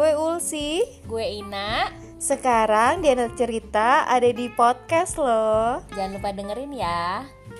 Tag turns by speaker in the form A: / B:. A: Lexi.
B: Gue Ina,
A: Sekarang Diana Cerita ada di podcast loh.
B: jangan lupa dengerin ya.